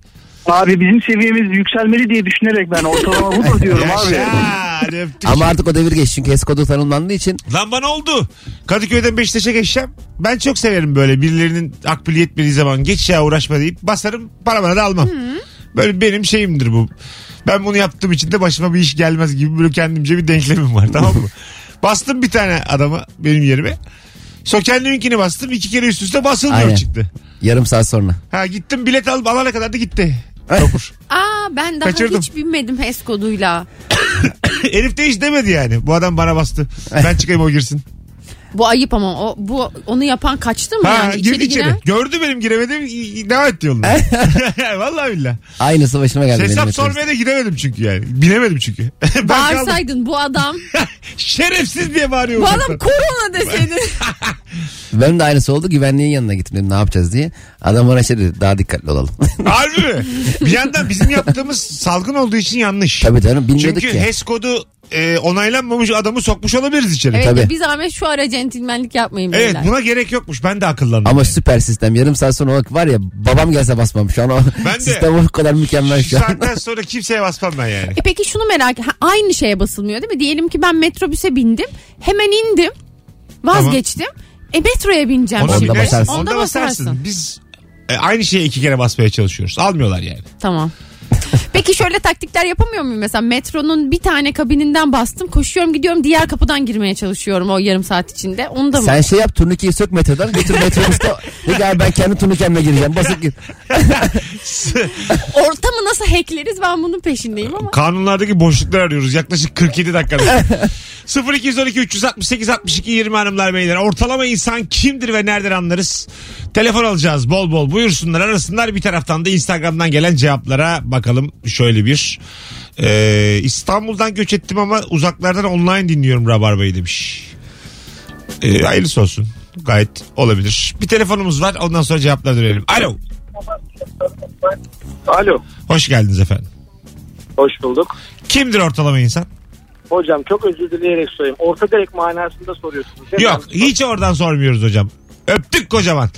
H: Abi bizim seviyemiz yükselmeli diye düşünerek ben ortalama budur diyorum abi.
B: Yaşa. Hadi öptük.
C: Ama artık o devir geçti çünkü Eskodu tanımlandığı için
B: Lan bana oldu. Kadıköy'den Beşiktaş'a geçeceğim. Ben çok severim böyle birilerinin akbili yetmediği zaman geç ya uğraşma deyip basarım para bana da almam. Böyle benim şeyimdir bu. Ben bunu yaptığım için de başıma bir iş gelmez gibi böyle kendimce bir denklemim var tamam mı? bastım bir tane adama benim yerime. Sokenliminkini bastım iki kere üst üste basılmıyor
C: Aynen.
B: çıktı.
C: yarım saat sonra.
B: Ha gittim bilet alıp alana kadar da gitti. Topur.
D: Aa ben daha
B: Kaçırdım.
D: hiç binmedim HES koduyla.
B: Herif de hiç demedi yani. Bu adam bana bastı. Ben çıkayım o girsin.
D: Bu ayıp ama o bu onu yapan kaçtı mı
B: Ha
D: yani
B: girdi
D: içeri
B: içeri.
D: giren?
B: Gördü benim giremedim. i- i- Devam etti yoluna. Vallahi billah.
C: Aynısı başıma geldi. benim
B: Hesap
C: metrobüste.
B: sormaya da gidemedim çünkü yani. Bilemedim çünkü. ben kaldım.
D: Bağırsaydın bu adam.
B: Şerefsiz diye bağırıyor.
D: bu
B: uzaktan.
D: adam korona deseydin.
C: Benim de aynısı oldu güvenliğin yanına gittim dedim, ne yapacağız diye. Adam bana şey dedi daha dikkatli olalım.
B: Harbi mi? Bir yandan bizim yaptığımız salgın olduğu için yanlış.
C: Tabii canım bilmiyorduk
B: Çünkü
C: ya.
B: HES kodu e, onaylanmamış adamı sokmuş olabiliriz içeri.
D: evet
B: Evet.
C: Tabii.
D: biz Ahmet şu ara centilmenlik yapmayın beyler.
B: buna gerek yokmuş. Ben de akıllandım.
C: Ama süper sistem yarım saat sonra bak var ya babam gelse basmam şu an o
B: Ben de.
C: sistem o kadar mükemmel
B: Şu
C: şu an.
B: saatten sonra kimseye basmam ben yani.
D: E peki şunu merak ha, aynı şeye basılmıyor değil mi? Diyelim ki ben metrobüse bindim. Hemen indim. Vazgeçtim. E metroya bineceğim
B: Ona
C: Onda
D: şimdi.
B: binersin,
C: basarsın.
D: Onda basarsın.
B: Biz e, aynı şeye iki kere basmaya çalışıyoruz. Almıyorlar yani.
D: Tamam. Peki şöyle taktikler yapamıyor muyum mesela metronun bir tane kabininden bastım koşuyorum gidiyorum diğer kapıdan girmeye çalışıyorum o yarım saat içinde onu da mı?
C: Sen şey yap turnikeyi sök metrodan götür metrobüste. De ki, "Abi ben kendi turnikemle gireceğim basıp gir.
D: Ortamı nasıl hackleriz ben bunun peşindeyim ama.
B: Kanunlardaki boşlukları arıyoruz. Yaklaşık 47 dakikada. 0212 368 62 20 hanımlar beyler. Ortalama insan kimdir ve nereden anlarız? Telefon alacağız bol bol. Buyursunlar arasınlar. Bir taraftan da Instagram'dan gelen cevaplara bakalım. Şöyle bir. Ee, İstanbul'dan göç ettim ama uzaklardan online dinliyorum Rabarba'yı demiş. Ee, hayırlısı olsun. Gayet olabilir. Bir telefonumuz var. Ondan sonra cevaplara dönelim. Alo.
I: Alo.
B: Hoş geldiniz efendim.
I: Hoş bulduk.
B: Kimdir ortalama insan?
I: Hocam çok özür dileyerek sorayım. Orta direkt manasında soruyorsunuz. değil mi?
B: Yok hiç oradan sormuyoruz hocam. Öptük kocaman.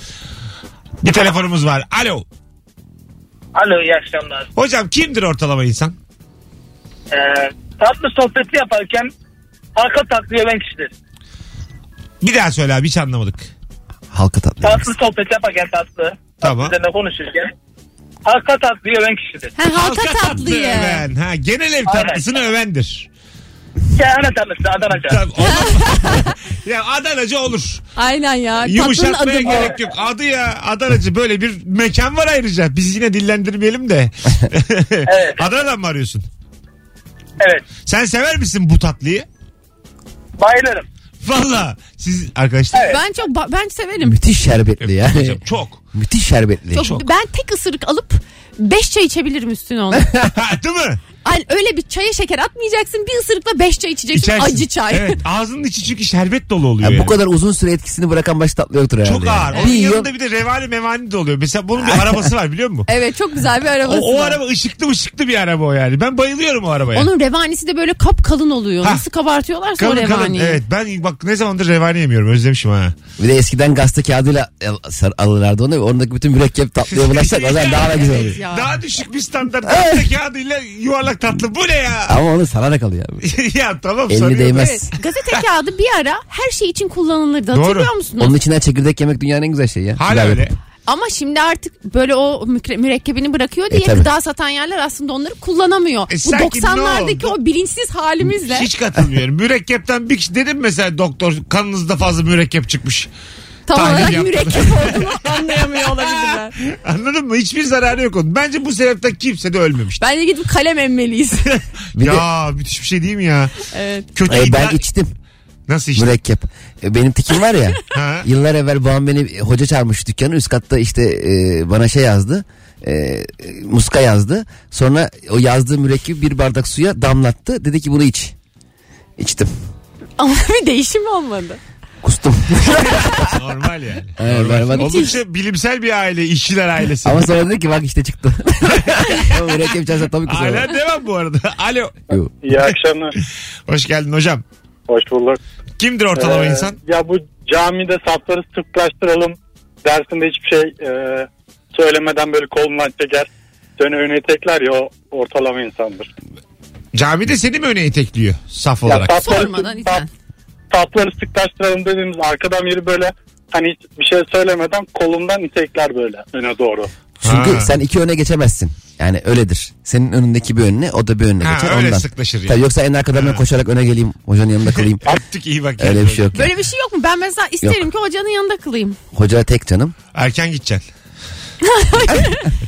B: Bir telefonumuz var. Alo.
G: Alo iyi akşamlar.
B: Hocam kimdir ortalama insan?
I: e, tatlı sohbeti yaparken arka takviye ben kişidir.
B: Bir daha söyle abi hiç anlamadık.
C: Halka tatlı.
I: Tatlı sohbet yaparken tatlı.
B: Tamam.
I: Üzerine konuşurken. Arka takviye ben kişidir.
D: Ha, halka, tatlıyı.
B: öven. Ha, genel ev
I: Aynen.
B: tatlısını övendir.
I: Kehane tatlısı Adana'da.
B: Tabii, o- ya Adanacı olur.
D: Aynen ya. Tatlının
B: Yumuşatmaya
D: adı bu.
B: gerek yok. Adı ya Adanacı böyle bir mekan var ayrıca. Biz yine dillendirmeyelim de. Adana'dan mı arıyorsun?
I: Evet.
B: Sen sever misin bu tatlıyı?
I: Bayılırım.
B: Valla siz arkadaşlar
D: Ben çok ba- ben severim.
C: Müthiş şerbetli yani.
B: Hocam çok.
C: Müthiş şerbetli.
D: Çok, Ben tek ısırık alıp 5 çay içebilirim üstüne onu.
B: Ha, değil mi?
D: Al- öyle bir çaya şeker atmayacaksın. Bir ısırıkla 5 çay içeceksin.
B: İçersin.
D: Acı çay.
B: Evet ağzının içi çünkü şerbet dolu oluyor.
C: Yani
B: yani.
C: bu kadar uzun süre etkisini bırakan başta tatlı yoktur herhalde.
B: Çok ağır.
C: yani.
B: Onun
C: Bir yiyor,
B: yanında bir de revani mevani de oluyor. Mesela bunun bir arabası var biliyor musun?
D: Evet, çok güzel bir
B: O,
D: arabası.
B: o
D: var.
B: araba ışıklı ışıklı bir araba o yani. Ben bayılıyorum o arabaya.
D: Onun revanisi de böyle kap kalın oluyor.
B: Ha.
D: Nasıl kabartıyorlarsa o
B: kalın kalın.
D: revaniyi.
B: Evet ben bak ne zamandır revani yemiyorum özlemişim ha.
C: Bir de eskiden gazete kağıdıyla al- sar- alırlardı onu. Oradaki bütün mürekkep tatlıya bulaşsak o zaman daha da güzel olur.
D: Ya.
B: Daha düşük bir standart. Gazete kağıdıyla yuvarlak tatlı. Bu ne ya?
C: Ama onu sana da kalıyor. abi.
B: ya tamam
C: Elini
B: sarıyor.
C: değmez.
D: Evet. Gazete kağıdı bir ara her şey için kullanılırdı.
B: Doğru.
D: Hatırlıyor musunuz?
C: Onun içinden çekirdek yemek dünyanın en güzel şeyi ya.
B: Hala
C: Güzel
B: öyle.
C: yapıp.
D: Ama şimdi artık böyle o mükre- mürekkebini bırakıyor diye
C: tabii.
D: gıda satan yerler aslında onları kullanamıyor.
B: E
D: Bu
B: sanki
D: 90'lardaki
B: ne oldu?
D: o bilinçsiz halimizle.
B: Hiç katılmıyorum. Mürekkepten bir kişi dedim mesela doktor kanınızda fazla mürekkep çıkmış.
D: Tam
B: Tahlil
D: olarak
B: yaptım.
D: mürekkep olduğunu anlayamıyor olabilirler.
B: Anladın mı? Hiçbir zararı yok onun. Bence bu sebepten kimse de ölmemişti.
D: Bence gidip kalem emmeliyiz.
C: Bir de-
B: ya müthiş bir şey değil mi ya?
D: evet.
B: Kötü
C: E,
B: iddia-
C: ben içtim
B: Nasıl işte?
C: mürekkep. E, benim tikim var ya.
B: Ha?
C: yıllar evvel babam beni e, hoca çağırmış dükkanı. Üst katta işte e, bana şey yazdı. e, e, muska yazdı. Sonra o yazdığı mürekkebi bir bardak suya damlattı. Dedi ki bunu iç. İçtim.
D: Ama bir değişim olmadı.
C: Kustum.
B: Normal yani.
C: Evet, berbat.
B: Oldukça bilimsel bir aile, işçiler ailesi.
C: Ama sonra dedi ki bak işte çıktı. Ama mürekkep içersen tabii kusar.
B: Hala devam bu arada. Alo.
C: Yok.
F: İyi akşamlar.
B: Hoş geldin hocam.
F: Hoş bulduk.
B: Kimdir ortalama
F: Ee,
B: insan?
F: Ya bu camide sapları sıklaştıralım dersinde hiçbir şey e, söylemeden böyle kolundan çeker. Seni öne tekler ya o ortalama insandır.
B: Camide seni mi öne itekliyor saf
F: Ya
B: olarak?
F: sapları
D: Sormadan
F: sık-
D: iten.
F: sapları sıklaştıralım dediğimiz arkadan biri böyle hani hiç bir şey söylemeden kolundan itekler böyle öne doğru.
C: Çünkü
B: Ha.
C: sen iki öne geçemezsin. Yani öyledir. Senin önündeki bir önüne o da bir önüne
B: Ha,
C: geçer
B: öyle
C: ondan.
B: sıklaşır yani.
C: Tabii yoksa en arkadan ben koşarak öne geleyim. Hocanın yanında kalayım.
B: Öptük iyi bak.
C: Öyle bir şey yok.
D: Böyle bir şey yok mu? Ben mesela isterim ki hocanın yanında kılayım.
C: Hoca tek canım.
B: Erken gideceksin. e,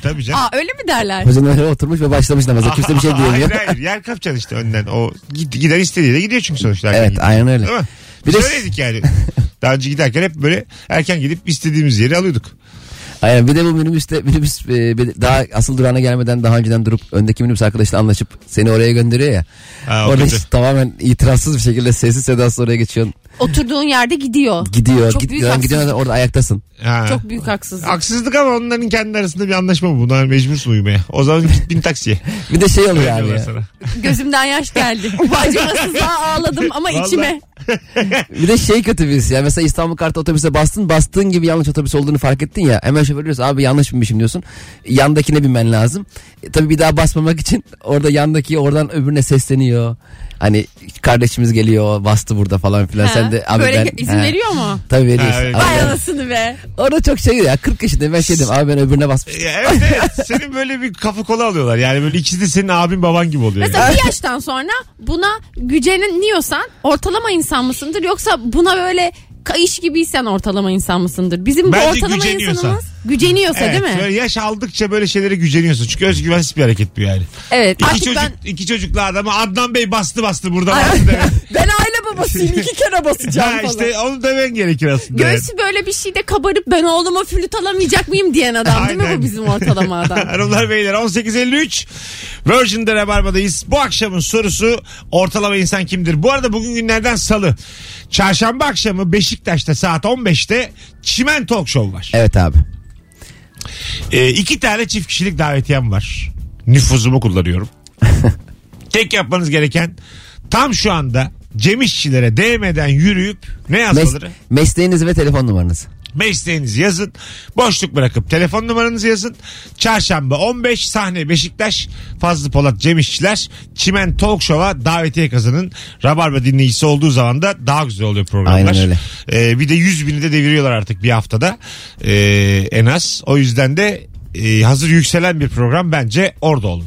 B: tabii canım.
D: Aa öyle mi derler?
C: Hocanın öyle oturmuş ve başlamış namaza. Kimse bir şey
B: hayır
C: diyemiyor.
B: hayır yer kapacaksın işte önden. O gid- gider istediği de gidiyor çünkü sonuçta. erken
C: evet
B: gidip.
C: aynen öyle.
B: Değil mi?
C: Bir
B: Biz
C: de-
B: öyleydik yani. Daha önce giderken hep böyle erken gidip istediğimiz yeri alıyorduk.
C: Aynen bir de bu minibüste minibüs e, bir- daha asıl durağına gelmeden daha önceden durup öndeki minibüs arkadaşla anlaşıp seni oraya gönderiyor ya.
B: Ha, o
C: Orada
B: kötü.
C: hiç tamamen itirazsız bir şekilde sessiz sedasız oraya geçiyorsun.
D: Oturduğun yerde gidiyor.
C: Gidiyor.
D: Çok
C: git-
D: büyük
C: gidiyorsun,
D: haksızlık.
C: gidiyorsun, orada ayaktasın.
B: Ha.
D: Çok büyük haksızlık.
B: Haksızlık ama onların kendi arasında bir anlaşma bu. Bunlar mecbursun uyumaya. O zaman git bin taksiye.
C: Bir de şey oluyor
B: Öyle
C: abi
B: diyorlar
C: ya.
B: sana.
D: Gözümden yaş geldi. Acımasızlığa ağladım ama
B: Vallahi.
D: içime.
C: Bir de şey kötü birisi ya. Mesela İstanbul kartı otobüse bastın. Bastığın gibi yanlış otobüs olduğunu fark ettin ya. Hemen şoför diyorsun abi yanlış binmişim diyorsun. Yandakine binmen lazım. E, tabii bir daha basmamak için orada yandaki oradan öbürüne sesleniyor. Hani kardeşimiz geliyor bastı burada falan filan.
D: Ha,
C: Sen de abi
D: Böyle
C: ben...
D: izin
C: He.
D: veriyor mu?
C: Tabii veriyorsun.
B: Ha, evet.
C: Abi
D: Vay
C: ben-
D: anasını be.
C: orada çok şey ya 40 yaşındayım ben şey dedim abi ben öbürüne basmışım.
B: Ya Evet, evet. Senin böyle bir kafa kola alıyorlar. Yani böyle ikisi de senin abin baban gibi oluyor. yani.
D: Mesela bir yaştan sonra buna güceniyorsan ortalama insan mısındır yoksa buna böyle kayış gibiysen ortalama insan mısındır? Bizim
B: Bence
D: bu ortalama
B: güceniyorsa.
D: insanımız güceniyorsa
B: Evet,
D: değil mi?
B: Böyle yaş aldıkça böyle şeylere güceniyorsun. Çünkü özgüvensiz bir hareket bu yani.
D: Evet.
B: İki,
D: Artık
B: çocuk,
D: ben
B: iki çocuklu adamı Adnan Bey bastı bastı burada
D: Ay.
B: bastı demek.
D: ben aile babasıyım iki kere
B: Ha
D: basacağım falan.
B: işte onu demen gerekir aslında.
D: Göğsü böyle bir şeyde kabarıp ben oğluma flüt alamayacak mıyım diyen adam değil mi
B: Aynen.
D: bu bizim ortalama adam?
B: Hanımlar beyler 18.53 Virgin'de Rabarba'dayız. Bu akşamın sorusu ortalama insan kimdir? Bu arada bugün günlerden salı. Çarşamba akşamı Beşiktaş'ta saat 15'te Çimen Talk Show var.
C: Evet abi.
B: Ee, iki tane çift kişilik davetiyem var. Nüfuzumu kullanıyorum. Tek yapmanız gereken tam şu anda Cem İşçilere DM'den yürüyüp ne
C: Mes-
B: yazmaları?
C: mesleğiniz ve telefon numaranız.
B: Mesleğinizi yazın. Boşluk bırakıp telefon numaranızı yazın. Çarşamba 15 sahne Beşiktaş Fazlı Polat Cem İşçiler Çimen Talk Show'a davetiye kazanın. Rabarba dinleyicisi olduğu zaman da daha güzel oluyor programlar.
C: Aynen öyle.
B: Ee, bir de 100 bini de deviriyorlar artık bir haftada Ee, en az. O yüzden de e, hazır yükselen bir program bence orada olun.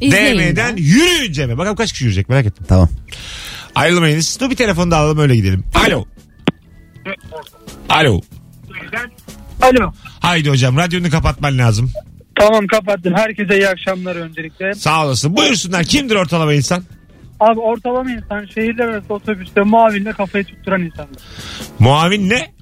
D: İzleyin
B: DM'den
D: de.
B: yürüyün Cem'e. Bakalım kaç kişi yürüyecek merak ettim.
C: Tamam.
B: Ayrılmayınız. Dur bir telefonu da alalım öyle gidelim. Alo. Alo.
I: Alo.
B: Haydi hocam radyonu kapatman lazım.
I: Tamam kapattım. Herkese iyi akşamlar öncelikle.
B: Sağ olasın. Buyursunlar. Kimdir ortalama insan?
I: Abi ortalama insan şehirler arası otobüste muavinle kafayı tutturan insanlar.
B: Muavin ne?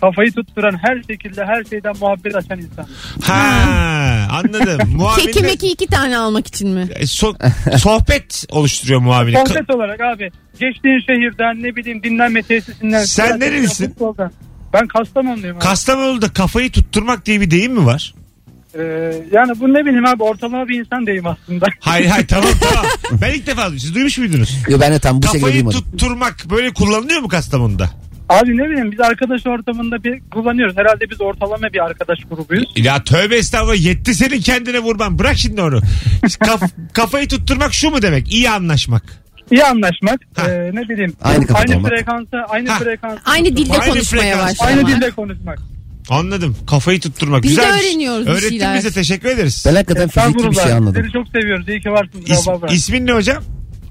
I: Kafayı tutturan her şekilde her şeyden muhabbet açan insanlar.
B: Ha anladım. Muavin
D: Keki
B: de,
D: meki iki tane almak için mi?
B: E, so- sohbet oluşturuyor muavin. Ka-
I: Sohbet olarak abi geçtiğin şehirden ne bileyim dinlenme tesisinden.
B: Sen
I: Siyaset-
B: nerelisin?
I: futboldan. Ben Kastamonluyum abi.
B: Kastamonu'da kafayı tutturmak diye bir deyim mi var?
I: Ee, yani bu ne bileyim abi ortalama bir insan değilim aslında.
B: Hayır hayır tamam tamam. Ben ilk defa duydum. Siz duymuş muydunuz?
C: Yo, ben de tam bu
D: şey
C: şekilde
B: Kafayı
C: duymadım.
B: tutturmak böyle kullanılıyor mu Kastamonu'da?
I: Abi ne bileyim biz arkadaş ortamında bir kullanıyoruz. Herhalde biz ortalama bir arkadaş grubuyuz.
B: Ya tövbe estağfurullah yetti senin kendine vurman. Bırak şimdi onu. Kaf- kafayı tutturmak şu mu demek? İyi anlaşmak.
I: İyi anlaşmak.
B: Ha.
I: ee, ne bileyim.
C: Aynı kafada
I: aynı
C: olmak.
I: frekansa, aynı
B: Ha.
I: frekansa.
D: Aynı dilde
B: Aynı
D: konuşmaya
B: frekans.
D: başlamak.
I: Aynı dilde konuşmak.
B: Anladım. Kafayı tutturmak.
D: Biz de
B: Güzelmiş.
D: öğreniyoruz bir
B: Öğrettin
D: şeyler.
B: bize teşekkür ederiz.
C: Ben hakikaten fiziki bir şey
I: Estağfurullah.
C: anladım.
I: Sizi çok seviyoruz. İyi ki varsınız. Rabarbra.
B: İs- ismin ne hocam?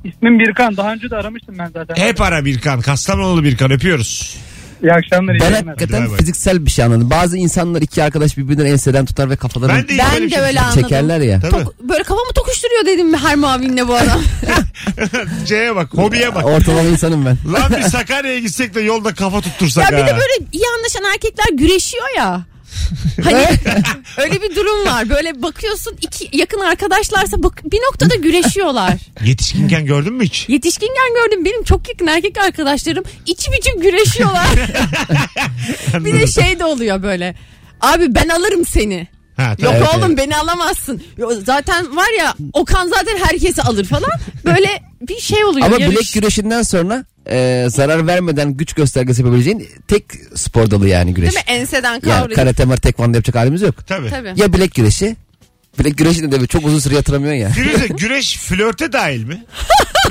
I: İsmim Birkan. Daha önce de aramıştım ben zaten.
B: Hep ara Birkan. Kastamonulu Birkan. Öpüyoruz.
I: İyi akşamlar. iyi
C: Ben
I: yayınlar.
C: hakikaten
B: Bay bay.
C: fiziksel bir şey anladım. Bazı insanlar iki arkadaş birbirinden enseden tutar ve kafalarını
B: Ben de- Böyle bir
D: Ben de
B: şey
D: öyle anladım.
C: çekerler ya.
B: Tabii.
D: Tok- böyle kafamı tokuşturuyor dedim her muavinle bu adam.
B: C'ye bak. Hobiye bak.
C: Ortalama insanım ben.
B: Lan bir Sakarya'ya gitsek de yolda kafa
D: ya
B: tuttursak
D: bir de
B: ha.
D: böyle iyi anlaşan erkekler güreşiyor ya. Hani öyle bir durum var. Böyle bakıyorsun iki yakın arkadaşlarsa bak, bir noktada güreşiyorlar.
B: Yetişkinken gördün mü hiç?
D: Yetişkinken gördüm benim çok yakın erkek arkadaşlarım içim içim güreşiyorlar. bir de şey de oluyor böyle. Abi ben alırım seni.
B: Ha,
D: Yok
B: tamam.
C: Evet,
D: oğlum
C: evet.
D: beni alamazsın. Yo, Zaten var ya Okan zaten herkesi alır falan. Böyle bir şey oluyor.
C: Ama
D: yarış.
C: bilek güreşinden sonra e, zarar vermeden güç göstergesi yapabileceğin tek spor dalı yani güreş.
D: Değil mi? Enseden
C: Ya
D: kavrayıp.
C: karate mar tekvando yapacak halimiz yok.
B: Tabii.
D: Tabii.
C: Ya bilek güreşi. Bilek güreşinde de çok uzun süre yatıramıyorsun ya.
B: Firuze güreş flörte dahil mi?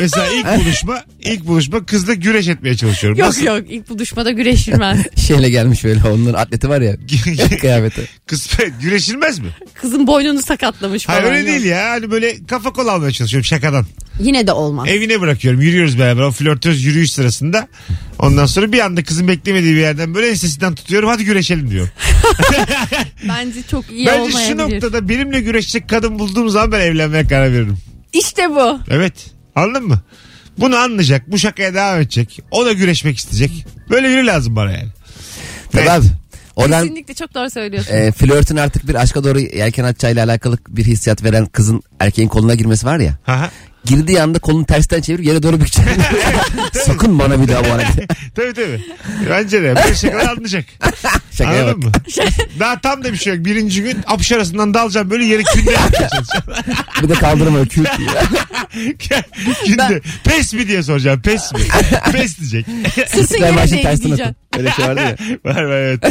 B: Mesela ilk buluşma, ilk buluşma kızla güreş etmeye çalışıyorum.
D: Yok
B: Nasıl?
D: yok ilk buluşmada güreşilmez.
C: Şeyle gelmiş böyle onların atleti var ya. kıyafeti.
B: Kız güreşilmez mi?
D: Kızın boynunu sakatlamış falan.
B: Hayır öyle
D: yok.
B: değil ya. Hani böyle kafa kol almaya çalışıyorum şakadan.
D: Yine de olmaz.
B: Evine bırakıyorum. Yürüyoruz beraber. O flörtöz yürüyüş sırasında. Ondan sonra bir anda kızın beklemediği bir yerden böyle ensesinden tutuyorum. Hadi güreşelim diyorum.
D: Bence çok iyi
B: Bence şu
D: olmayabilir.
B: noktada benimle güreşecek kadın bulduğum zaman ben evlenmeye karar veririm.
D: İşte bu.
B: Evet. Anladın mı? Bunu anlayacak. Bu şakaya devam edecek. O da güreşmek isteyecek. Böyle biri lazım bana yani.
C: Tabii
B: Evet.
C: abi. Oradan
D: Kesinlikle çok doğru söylüyorsun.
C: e, flörtün artık bir aşka doğru yelken açacağıyla alakalı bir hissiyat veren kızın erkeğin koluna girmesi var ya.
B: Aha.
C: Girdiği anda kolunu tersten çevirip yere doğru bükecek. Sakın bana bir daha bu hareket.
B: Tabii tabii. Bence de. Böyle şakalar anlayacak.
C: Şakaya bak.
B: Anladın mı? Daha tam da bir şey yok. Birinci gün apış arasından dalacağım böyle yere künde yapmaya çalışacağım.
C: Bir de kaldırma ökürt.
B: künde. Pes mi diye soracağım. Pes mi? Pes diyecek.
D: Sırtın
C: Ben
D: yere
C: başını tersten
D: değmeyeceksin.
C: atın. Öyle şey vardı ya.
B: var var evet.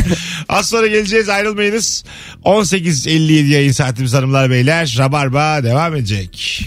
B: Az sonra geleceğiz ayrılmayınız. 18.57 yayın saatimiz hanımlar beyler. Rabarba devam edecek.